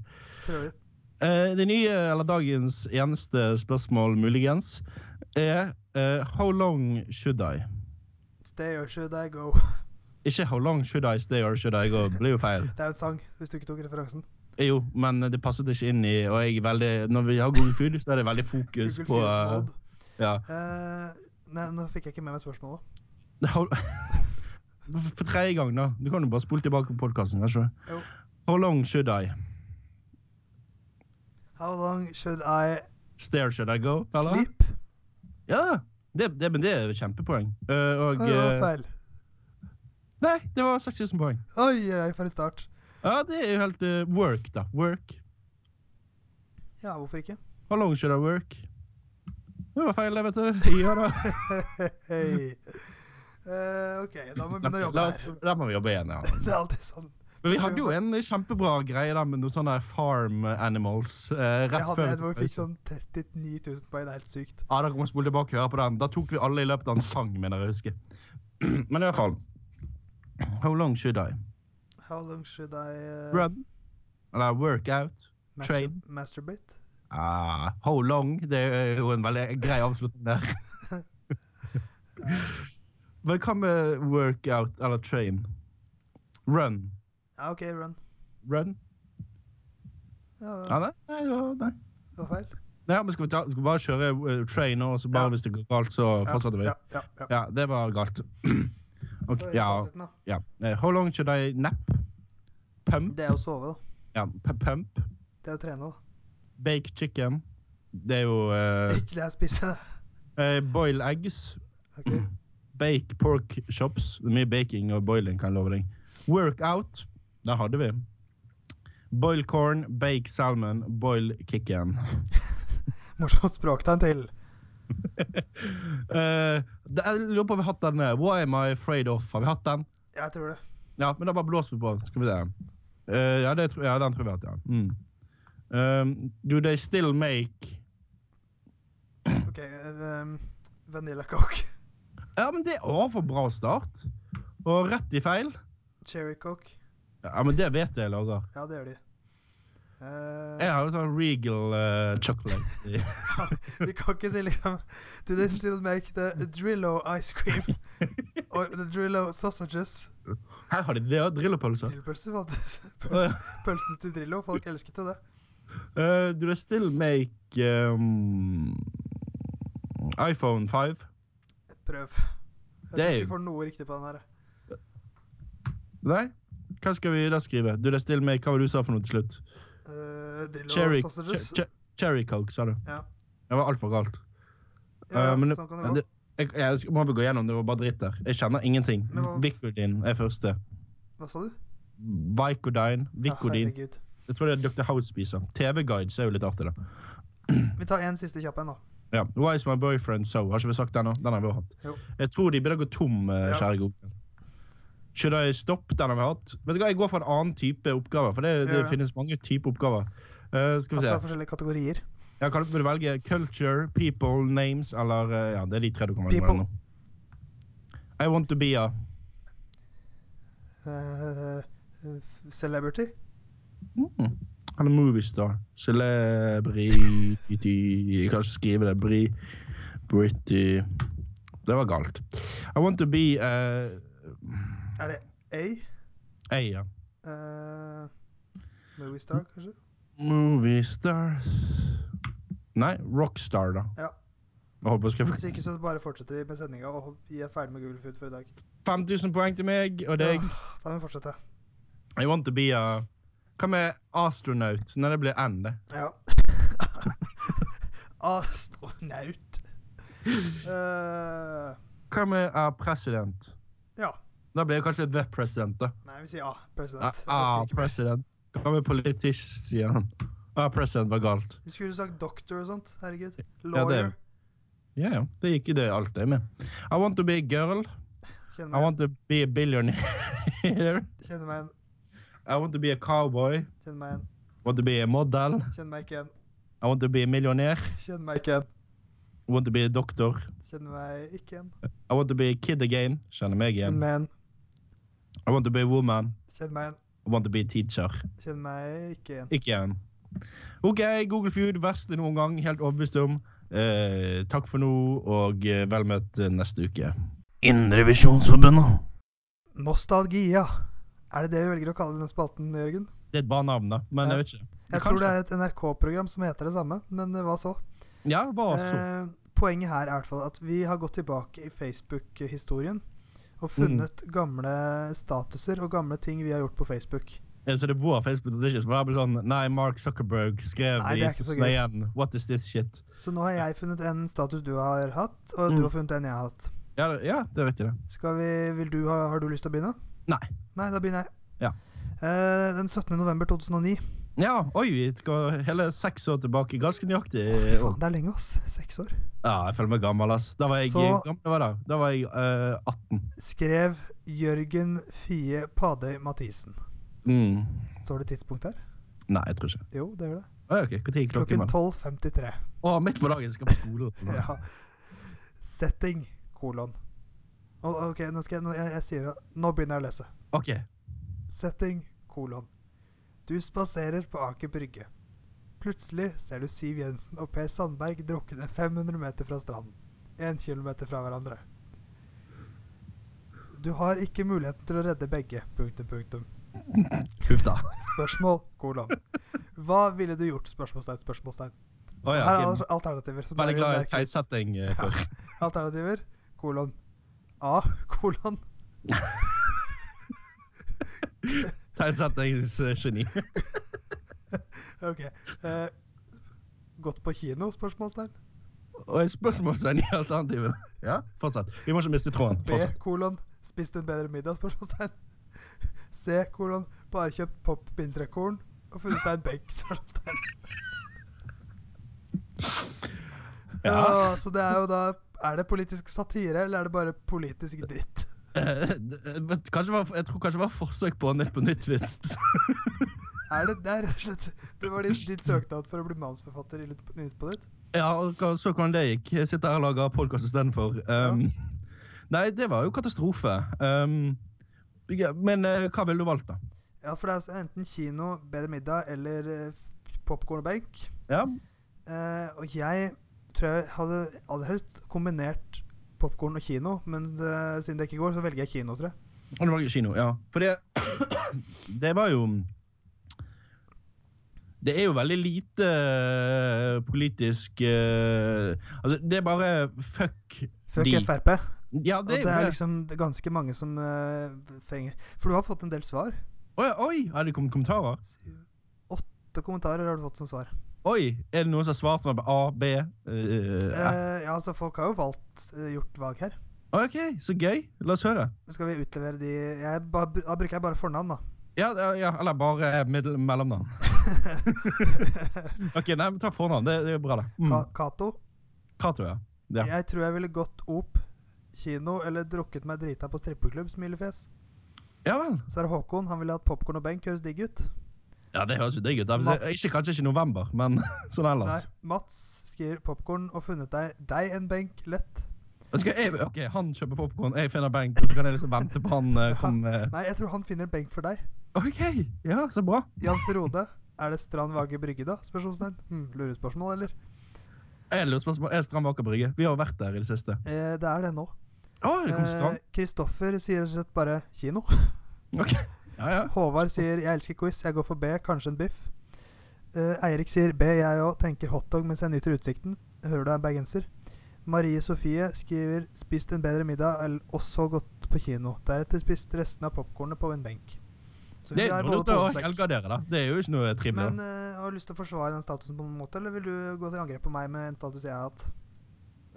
S2: Prøver.
S3: Eh, det nye, eller dagens eneste spørsmål, muligens, er eh, How long should I?
S2: Stay or should I go?
S3: Ikke how long should I stay or should I go? Det blir jo feil.
S2: Det er jo en sang, hvis du ikke tok referansen.
S3: Eh, Jo, men det passet ikke inn i Og jeg er veldig, når vi har Google Food, så er det veldig fokus
S2: Google
S3: på
S2: Feed
S3: eh,
S2: Pod.
S3: ja.
S2: Eh, nei, nå fikk jeg ikke med meg spørsmålet.
S3: How- For for tredje gang, da. Du kan jo bare spole tilbake på podkasten.
S2: Jo.
S3: How long should I?
S2: How long should I
S3: Stay or should I go? Eller?
S2: sleep?
S3: Ja, det, det, men det er kjempepoeng. Eh, og
S2: Oi, det var
S3: eh,
S2: feil.
S3: Nei, det var 6000 poeng.
S2: Oi, oi, for en start.
S3: Ja, det er jo helt eh, work, da. Work.
S2: Ja, hvorfor ikke?
S3: How long should I work? Det var feil, det, vet du. Ja, da.
S2: Hei. Eh, OK, da må vi begynne å jobbe
S3: La oss,
S2: her.
S3: der må vi jobbe igjen, ja.
S2: Det er alltid sånn.
S3: Men vi hadde jo en kjempebra greie der med noen sånne farm animals. eh,
S2: Jeg
S3: rett
S2: hadde
S3: før
S2: en hvor vi fikk
S3: pause.
S2: sånn 39 000 poeng. Det er helt sykt.
S3: Ja, Dere må spole tilbake og høre på den. Da tok vi alle i løpet av en sang, mener jeg å huske. Men i hvert fall How long should I?
S2: How long should I eh,
S3: Run? Eller work out?
S2: mastur-
S3: train.
S2: Masturbate?
S3: Ah, how long? Det er jo en veldig grei avslutning der. Men hva med workout eller train? Run?
S2: Ja, OK, run.
S3: Run? Ja,
S2: Ja,
S3: nei, nei, ja, nei.
S2: det var feil.
S3: nei men skal vi, ta, skal vi bare kjøre eh, train nå, og så bare
S2: Ja.
S3: hvis det går galt, så fortsetter vi?
S2: Ja, ja, ja.
S3: Ja, det var galt. Ok,
S2: Hva er
S3: ja,
S2: fasiten, da?
S3: ja. Eh, How long should I nap? Pump?
S2: Det er å sove, da.
S3: Ja, pu- pump.
S2: Det er å trene, da.
S3: Bake chicken. Det er jo eh,
S2: Ikke det er spise, det.
S3: eh, Boil eggs.
S2: Ok.
S3: Bake pork chops. Det er Mye baking og boiling, kan jeg love deg. Workout. Der hadde vi. Boil corn, bake salmon, boil chicken.
S2: Morsomt språktegn til.
S3: Eh, det- jeg lurer på om vi har hatt den eh, Why am I afraid of? Har vi hatt den?
S2: Jeg tror det.
S3: Ja, men da bare blåser vi på. Skal vi se. Eh, ja, det tror, ja, den tror jeg vi har hatt, ja. Mm. Um, do they still make
S2: OK. Um, vanilla coke.
S3: Ja, men det var for bra start. Og rett i feil.
S2: Cherry coke.
S3: Ja, men det vet jeg jeg lager.
S2: Ja, det gjør de. Eh,
S3: Jeg har jo sånn Regal eh, chocolate.
S2: Vi kan ikke si liksom Do they still make the Drillo ice cream? Or the Drillo sausages?
S3: Her har de det, og drillepølser.
S2: Drillpølser, faktisk.
S3: Å, ja.
S2: Pølse- Pølsene til Drillo. Folk elsket jo det.
S3: Uh, do they still make um, iPhone 5?
S2: Prøv. Jeg
S3: Det
S2: tror
S3: er
S2: ikke
S3: jo-
S2: vi får noe riktig på den her.
S3: Nei? Hva skal vi da skrive? Do they still make, Hva var det du sa for noe til slutt?
S2: Eh, Drillo
S3: Cherry,
S2: sausages.
S3: che- che- cherry Coke, sa du.
S2: Ja.
S3: Det var altfor galt.
S2: Ja,
S3: Eh, men det-
S2: sånn kan
S3: men
S2: det gå.
S3: det- jeg, jeg sk- må vel gå gjennom, det var bare dritt der. Jeg kjenner ingenting.
S2: Men hva-
S3: Vicodin er første.
S2: Hva sa du?
S3: Vicodine,
S2: Ja,
S3: Vicodin.
S2: herregud.
S3: Jeg tror det er Dr. House spiser. TV-guides er jo litt artig, da.
S2: Vi tar en siste kjapp en, da.
S3: Ja. Why is my boyfriend so? Har ikke vi sagt den nå? Den har vi også hatt.
S2: Jo.
S3: Jeg tror de begynner å gå tom, eh,
S2: Ja.
S3: kjære Google. Should I stop? Den har vi hatt. Vet du hva, Jeg går for en annen type oppgaver, for det, det
S2: Gjør det.
S3: finnes mange typer oppgaver. Eh, skal vi
S2: Altså
S3: se.
S2: forskjellige kategorier.
S3: Jeg kan vil du velge culture, people, names eller eh, Ja, det er de tre du kan velge
S2: People.
S3: mellom. I want to be a
S2: Eh, f- celebrity.
S3: Mm. Eller Moviestar. Celebrity Jeg kan ikke skrive det. Bri... Britty Det var galt. I want to be uh,
S2: Er det A?
S3: eh, A, ja.
S2: Uh, Moviestar, kanskje?
S3: Moviestar Nei, Rockstar, da.
S2: Ja.
S3: Jeg håper jeg
S2: Hvis
S3: skal
S2: ikke, så bare fortsetter vi med sendinga og vi er ferdig med Google Food for i dag.
S3: 5000 poeng til meg og deg.
S2: Åh, Da må vi fortsette.
S3: I want to be a Hva med astronaut? Nei, det blir N, det.
S2: Ja. Ah, Astronaut. Eh,
S3: Hva med a president?
S2: ja.
S3: Da blir det kanskje the president, da.
S2: Nei, vi sier A, president.
S3: Ah,
S2: Jeg
S3: ah,
S2: orker ikke mer.
S3: president. Hva med politician? Ah, president var galt.
S2: Vi skulle sagt doctor og sånt. Herregud.
S3: Ja, det-
S2: Lawyer.
S3: Ja, ja. Det gikk i det alt jeg med. I want to be a girl.
S2: Kjenner
S3: I
S2: meg,
S3: want to be a billionaire.
S2: igjen. kjenner meg igjen.
S3: I want to be a cowboy.
S2: Kjenner meg igjen.
S3: I want to be a model.
S2: Kjenner meg ikke igjen.
S3: I want to be a millionaire.
S2: Kjenner meg ikke igjen.
S3: I want to be a doctor.
S2: Kjenner meg ikke igjen.
S3: I want to be a kid again. Kjenner meg
S2: Kjenner
S3: igjen.
S2: meg igjen.
S3: I want to be a woman.
S2: Kjenner meg igjen.
S3: I want to be a teacher.
S2: Kjenner meg ikke igjen.
S3: Ikke igjen. OK, Google Food, verste noen gang. Helt overbevist om. Eh, takk for nå, og eh, vel møtt eh, neste uke.
S1: Indrevisjonsforbundet.
S2: Nostalgia. Er det det vi velger å kalle denne spalten, Jørgen?
S3: Det er et bra navn, da, men
S2: Ja.
S3: jeg vet ikke.
S2: Jeg tror det er et NRK-program som heter det samme, men eh, hva så?
S3: Ja, hva så?
S2: Eh, poenget her er i hvert fall at vi har gått tilbake i Facebook-historien og funnet
S3: Mm.
S2: gamle statuser og gamle ting vi har gjort på Facebook.
S3: Eh, Så det er vår Facebook, det er ikke så for eksempel sånn Nei, Mark Zuckerberg skrev
S2: Nei, det er
S3: i
S2: ikke så gøy.
S3: 2001 What is this shit?
S2: Så nå har jeg funnet en status du har hatt, og
S3: Mm.
S2: du har funnet en jeg har hatt.
S3: Ja, det- ja det er riktig, det.
S2: Skal vi, vil du ha, har du lyst til å begynne?
S3: Nei.
S2: Nei, da begynner jeg.
S3: Ja.
S2: Eh, den 17. november 2009.
S3: Ja, oi, vi skal hele seks år tilbake. Ganske nøyaktig.
S2: Å, fy
S3: år.
S2: faen, det er lenge, ass. Seks år.
S3: Ja, jeg føler meg gammel, ass. Da var jeg,
S2: Så-
S3: gammel, var da? Da var jeg eh, 18.
S2: Skrev Jørgen Fie Padøy Mathisen.
S3: Mm.
S2: Står det tidspunkt her?
S3: Nei, jeg tror ikke.
S2: Jo, det gjør det.
S3: Å, ja, ok, Hvor tid er
S2: Klokken
S3: klokken? mann?
S2: 12.53.
S3: Å, midt på dagen skal jeg på skolen.
S2: Ja. Setting, kolon. Og, ok, nå skal jeg, nå, jeg, jeg sier det. Nå begynner jeg å lese.
S3: OK.
S2: Setting, kolon. Du spaserer på Aker Brygge. Plutselig ser du Siv Jensen og Per Sandberg drukne 500 meter fra stranden. Én kilometer fra hverandre. Du har ikke muligheten til å redde begge. Punktum, punktum.
S3: Huff da.
S2: Spørsmål, kolon. Hva ville du gjort? Spørsmålstegn, spørsmålstegn.
S3: Å ja,
S2: Her er altså-
S3: ok.
S2: al- alternativer. som
S3: Veldig
S2: dere
S3: glad i
S2: merker.
S3: teitsetting eh, før.
S2: Alternativer kolon A kolon
S3: Teitsettingsgeni.
S2: OK. Eh, gått på kino? spørsmålstegn.
S3: Og et spørsmålstegn i alternativet. Ja, fortsett. Vi må ikke miste tråden.
S2: B
S3: Fortsett.
S2: kolon spist en bedre middag? spørsmålstegn. C kolon bare kjøpt pop-pinnsrekorn og funnet deg en benk? spørsmålstegn.
S3: Ja.
S2: Så, så det er jo da Er det politisk satire, eller er det bare politisk dritt?
S3: Eh, d- men kanskje var, jeg tror kanskje det var forsøk på Nytt på nytt-vits.
S2: Er det, det er rett og slett Det var din, din søknad for å bli manusforfatter i Lytt- Nytt på nytt?
S3: Ja, og hva- så hvordan det gikk. Jeg sitter her og lager podkast istedenfor. Um, Nei, det var jo katastrofe. Um, ja, men eh, hva ville du valgt, da?
S2: Ja, for det er altså enten kino, bedre middag eller popkorn og benk.
S3: Ja,
S2: Eh, og jeg tror jeg hadde aller helst kombinert popkorn og kino, men det, siden det ikke går, så velger jeg kino, tror jeg.
S3: Og du valgte kino, ja. For det Det var jo Det er jo veldig lite eh, politisk eh, Altså, det er bare fuck
S2: Fuck
S3: de.
S2: Frp.
S3: Ja,
S2: Og
S3: det er
S2: det
S3: jo
S2: er
S3: det.
S2: liksom ganske mange som eh, fenger For du har fått en del svar.
S3: Oi, oi, har det kommet kommentarer?
S2: Åtte kommentarer har du fått som svar.
S3: Oi, er det noen som har svart meg på A, B? eh, F?
S2: Eh, ja, altså folk har jo valgt, eh, gjort valg her.
S3: OK, så gøy. La oss høre.
S2: Men Skal vi utlevere de jeg, ba- Da bruker jeg bare fornavn, da.
S3: Ja, ja, ja eller bare middel, mellomnavn. OK, nei, men ta fornavn. Det, det er bra, det.
S2: Ka
S3: Mm.
S2: Cato.
S3: Cato, ja. Ja.
S2: Jeg tror jeg ville gått opp kino eller drukket meg drita på strippeklubb, smilefjes.
S3: Ja vel.
S2: Så er det Håkon. Han ville hatt popkorn og benk. Høres digg ut.
S3: Ja, Det høres jo digg ut. da. Hvis jeg- Ikke, kanskje ikke november, men sånn
S2: Nei,
S3: ellers.
S2: Mats skriver popkorn og funnet deg, deg en benk. Lett.
S3: Vet du hva, jeg, ok, Han kjøper popkorn, jeg finner benk, og så kan jeg liksom vente på han eh, kommer
S2: Nei, jeg tror han finner en benk for deg.
S3: OK, ja, så bra.
S2: Jan Frode. Er det Strand Vage Brygge, da? Spørsmålstegn. Hmm, Lurespørsmål, eller?
S3: Jeg lurer spørsmål. Er Strand Aker Brygge? Vi har vært der i det siste.
S2: Eh, det er det nå.
S3: Å, er det kommet strand?
S2: Eh, Kristoffer sier rett og slett bare kino.
S3: Ok. Ja, ja.
S2: Håvard sier 'jeg elsker quiz, jeg går for B, kanskje en biff'. Eh, Eirik sier 'B, jeg òg, tenker hotdog mens jeg nyter utsikten'. Hører du er bergenser? Marie Sofie skriver 'spist en bedre middag el- og så gått på kino'. Deretter spist resten av popkornet på en benk. Så
S3: Det
S2: vi
S3: er
S2: har
S3: jo lurt
S2: både
S3: å
S2: posesekk.
S3: helgardere, da. Det er jo ikke noe trivelig.
S2: Men eh, har du lyst til å forsvare den statusen på noen måte, eller vil du gå til angrep på meg med en status jeg har hatt?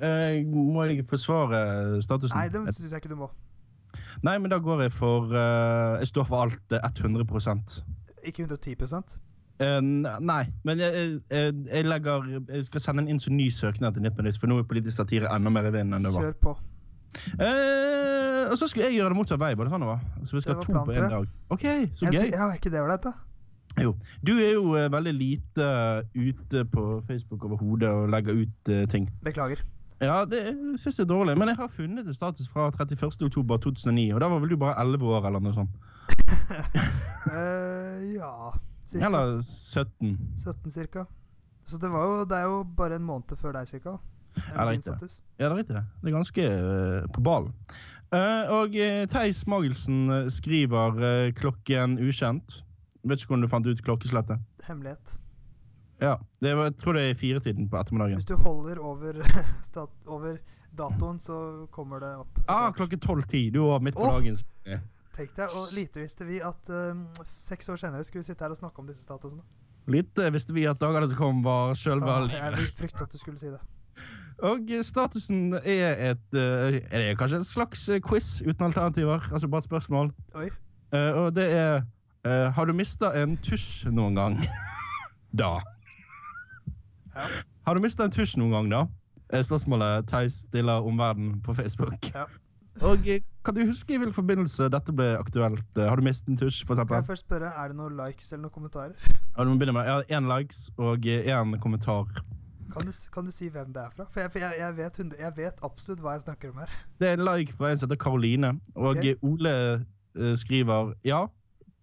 S3: Eh, må jeg forsvare statusen?
S2: Nei, det syns jeg ikke du må.
S3: Nei, men da går jeg for eh, Jeg står for alt eh, 100
S2: Ikke 110
S3: Eh, nei, men jeg, jeg, jeg legger Jeg skal sende inn en så ny søknad til Nytt på Nytt, for nå er politisk satire enda mer i vinden enn det var.
S2: Kjør på.
S3: Eh, og så skulle jeg gjøre det motsatt vei. Var det sånn det var? Så vi skal
S2: Det
S3: ha
S2: var
S3: to
S2: plan
S3: på
S2: tre.
S3: én dag. OK, så
S2: Jeg
S3: gøy.
S2: sy- ja, er ikke det ålreit, da?
S3: Jo. Du er jo eh, veldig lite eh, ute på Facebook overhodet og legger ut eh, ting.
S2: Beklager.
S3: Ja, det syns jeg er dårlig, men jeg har funnet en status fra 31.10.2009, og da var vel du bare 11 år eller noe sånt.
S2: Eh, ja cirka.
S3: Eller 17.
S2: 17 cirka. Så det, var jo, det er jo bare en måned før deg cirka. Er
S3: Ja, det er
S2: din
S3: riktig.
S2: status?
S3: Ja, det er riktig det. Det er ganske eh, på ballen. Eh, og uh, Theis Magelsen eh, skriver eh, klokken ukjent. Vet ikke hvordan du fant ut klokkeslettet.
S2: Hemmelighet.
S3: Ja, det var, jeg tror det er i firetiden på ettermiddagen.
S2: Hvis du holder over, stat, over datoen, så kommer det opp.
S3: Ah, klokken 12.10. Du var midt på
S2: Åh!
S3: dagen.
S2: Tenk deg, og lite visste vi at um, seks år senere skulle vi sitte her og snakke om disse statusene.
S3: Litt eh, visste vi at dagene som kom, var sjølve
S2: Ah,
S3: livet.
S2: jeg fryktet at du skulle si det.
S3: Og statusen er et eh, Er det kanskje en slags eh, quiz uten alternativer? Altså bare et spørsmål.
S2: Oi.
S3: Eh, og det er eh, Har du mista en tusj noen gang? da.
S2: Ja.
S3: Har du mista en tusj noen gang, da? Er spørsmålet Theis stiller omverdenen på Facebook.
S2: Ja.
S3: Og eh, kan du huske i hvilken forbindelse dette ble aktuelt? Eh, har du mistet en tusj, for
S2: Kan jeg
S3: eksempel?
S2: først spørre, er det noen likes eller noen kommentarer?
S3: Ja, du må begynne med ja, én likes og én kommentar.
S2: Kan du, s- kan du si hvem det er fra? For jeg, for jeg, jeg, vet, hundre- jeg vet absolutt hva jeg snakker om her.
S3: Det er en like fra en som heter Karoline, og
S2: Ok.
S3: Ole eh, skriver ja.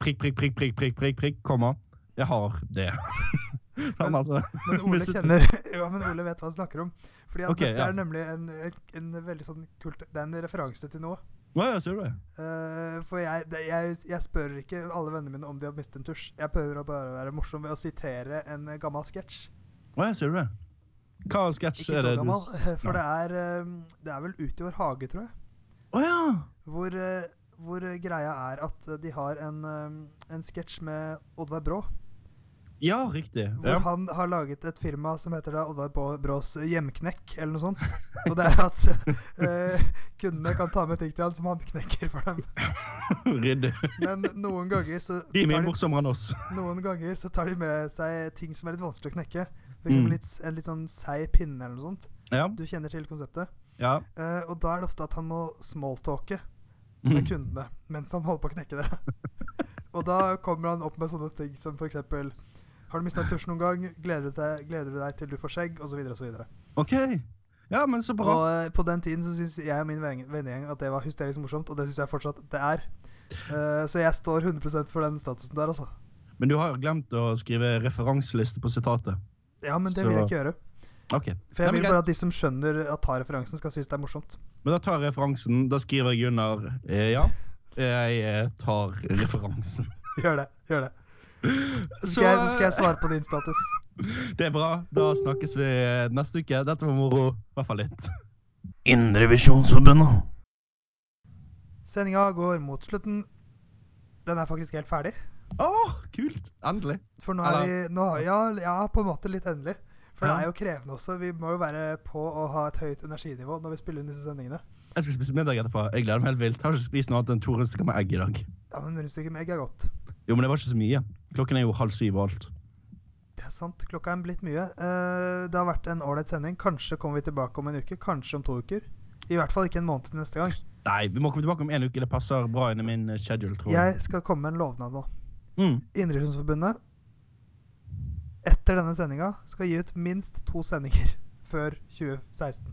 S3: Prikk, prikk, prikk, prikk, prikk, prikk, prikk, komma. Jeg har det. Så han
S2: Men-
S3: altså,
S2: Men Ole
S3: Mistet-
S2: kjenner Ja, men Ole vet hva han snakker om. Fordi at
S3: Ok,
S2: dette
S3: ja.
S2: er nemlig en, en, en veldig sånn kult Det er en referanse til noe.
S3: Å ja, ser du det?
S2: Eh, for jeg, det, jeg, jeg spør ikke alle vennene mine om de har mistet en tusj. Jeg prøver å bare være morsom ved å sitere en eh, gammel sketsj.
S3: Å ja, ser du det? Hva sketsj
S2: Ikke
S3: er
S2: så
S3: det
S2: gammel,
S3: s-
S2: for det er, eh, det er vel ut i vår hage, tror jeg.
S3: Å ja!
S2: Hvor, eh, hvor eh, greia er at eh, de har en, eh, en sketsj med Oddvar Brå.
S3: Ja, riktig.
S2: Hvor
S3: Ja.
S2: han har laget et firma som heter da Oddvar Bå- Brås Hjemknekk, eller noe sånt. Og det er at eh, kundene kan ta med ting til han som han knekker for dem.
S3: Ryddig.
S2: Men noen ganger så
S3: De er mye
S2: tar de,
S3: morsommere enn oss.
S2: noen ganger så tar de med seg ting som er litt vanskelig å knekke. For eksempel
S3: Mm.
S2: litt, s- en litt sånn seig pinne eller noe sånt.
S3: Ja.
S2: Du kjenner til konseptet.
S3: ja.
S2: Eh, og da er det ofte at han må smalltalke med
S3: Mm.
S2: kundene mens han holder på å knekke det. og da kommer han opp med sånne ting som f.eks.: Har du mista en tusj noen gang? Gleder du deg, gleder du deg til du får skjegg? Og så videre og så videre.
S3: OK. Ja, men så bra.
S2: Og eh, på den tiden så syns jeg og min ven- vennegjeng at det var hysterisk morsomt, og det syns jeg fortsatt det er. Eh, så jeg står 100 for den statusen der, altså.
S3: Men du har jo glemt å skrive referanseliste på sitatet.
S2: Ja, men det
S3: Så-
S2: vil jeg ikke gjøre.
S3: OK.
S2: For jeg
S3: Nei, men
S2: vil bare at de som skjønner at tar referansen, skal synes det er morsomt.
S3: Men da tar jeg referansen. Da skriver jeg under eh, ja. Jeg eh, tar referansen.
S2: Gjør det. gjør det. Så
S3: Så
S2: skal, jeg, så skal jeg svare på din status.
S3: det er bra. Da snakkes vi eh, neste uke. Dette var moro. I hvert fall litt.
S1: Indrevisjonsforbundet.
S2: Sendinga går mot slutten. Den er faktisk helt ferdig.
S3: Å, kult! Endelig.
S2: For nå er vi
S3: Eller-
S2: nå, har- ja, ja, på en måte litt endelig. For
S3: Ja.
S2: det er jo krevende også. Vi må jo være på å ha et høyt energinivå når vi spiller inn disse sendingene.
S3: Jeg skal spise middag etterpå. Jeg gleder meg helt vilt. Har ikke spist noe annet enn to rundstykker med egg i dag.
S2: Ja, men rundstykket med egg er godt.
S3: Jo, men det var ikke så mye. Klokken er jo halv syv og alt.
S2: Det er sant. Klokka er blitt mye. Eh, det har vært en ålreit sending. Kanskje kommer vi tilbake om en uke. Kanskje om to uker. I hvert fall ikke en måned til neste gang.
S3: Nei, vi må komme tilbake om en uke. Det passer bra inn i min eh, schedule, tror jeg.
S2: Jeg skal komme med en lovnad nå.
S3: Mm.
S2: Indrevisjonsforbundet etter denne sendinga skal gi ut minst to sendinger før 2016.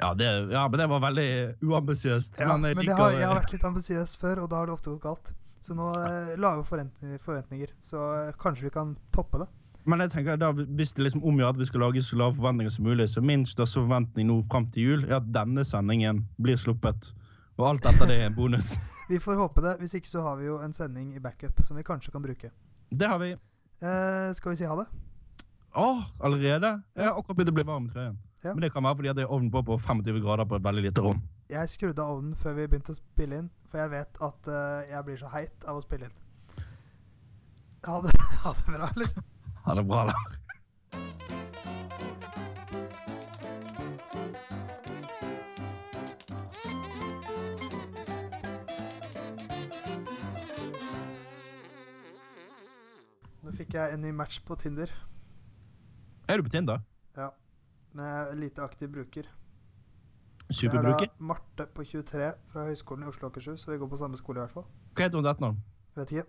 S3: Ja, det, ja, men det var veldig uambisiøst.
S2: Ja,
S3: men eh, jeg
S2: men jeg
S3: liker
S2: har, jeg har vært litt ambisiøs før, og da har det ofte gått galt. Så nå eh, lave forventninger, forventninger. Så eh, kanskje vi kan toppe det.
S3: Men jeg tenker da, hvis det liksom omgjør at vi skal lage så lave forventninger som mulig, så min største forventning nå fram til jul er at denne sendingen blir sluppet. Og alt etter det er en bonus.
S2: Vi får håpe det. Hvis ikke så har vi jo en sending i backup som vi kanskje kan bruke.
S3: Det har vi.
S2: Eh, skal vi si ha det?
S3: Å, allerede? Jeg har akkurat begynt å bli varm i trøyen.
S2: Ja.
S3: Men det kan være fordi at jeg har ovnen på på 25 grader på et veldig lite rom.
S2: Jeg skrudde av ovnen før vi begynte å spille inn, for jeg vet at eh, jeg blir så heit av å spille inn. Ha det, ha det bra, eller?
S3: Ha det bra, da.
S2: Nå fikk jeg en ny match på Tinder.
S3: Er du på Tinder?
S2: Ja. Men jeg er en lite aktiv bruker. Det er da
S3: Superbruker?
S2: Marte på 23 fra Høgskolen i Oslo og Akershus, så vi går på samme skole i hvert fall.
S3: Hva heter hun til etternavn?
S2: Vet ikke.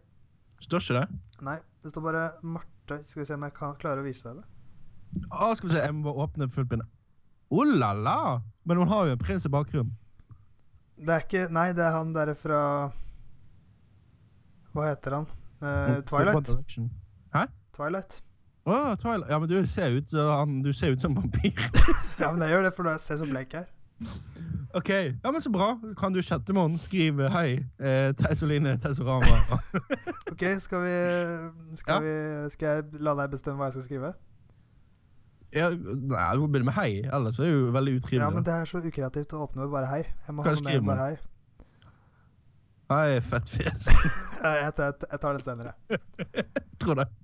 S3: Står ikke det?
S2: Nei, det står bare Marte. Skal vi se om jeg kan klare å vise deg det.
S3: Å, skal vi se, jeg må åpne fullt pinne. Oh la la! Men hun har jo en prins i bakgrunnen.
S2: Det er ikke Nei, det er han derre fra Hva heter han? Eh,
S3: One
S2: Twilight.
S3: Direction.
S2: Twilight.
S3: Å, Twilight. Ja, men du ser ut, uh, han, du ser ut som vampyr.
S2: Ja, men jeg gjør det, for nå ser jeg så blek her.
S3: OK. Ja, men så bra. Kan du chatte med henne? Skriv eh, 'hei, eh, Teisoline Teisorama'.
S2: Ok, skal vi Skal,
S3: Ja.
S2: vi, skal jeg la deg bestemme hva jeg skal skrive?
S3: ja, nei, du må begynne med 'hei', ellers er det jo veldig utrivelig.
S2: Ja, men det er så ukreativt å åpne med bare hei. Jeg må
S3: Hva
S2: ha noe mer
S3: skriver man?
S2: bare hei.
S3: Hei, fettfjes.
S2: Jeg, jeg, jeg tar det senere.
S3: Tror det.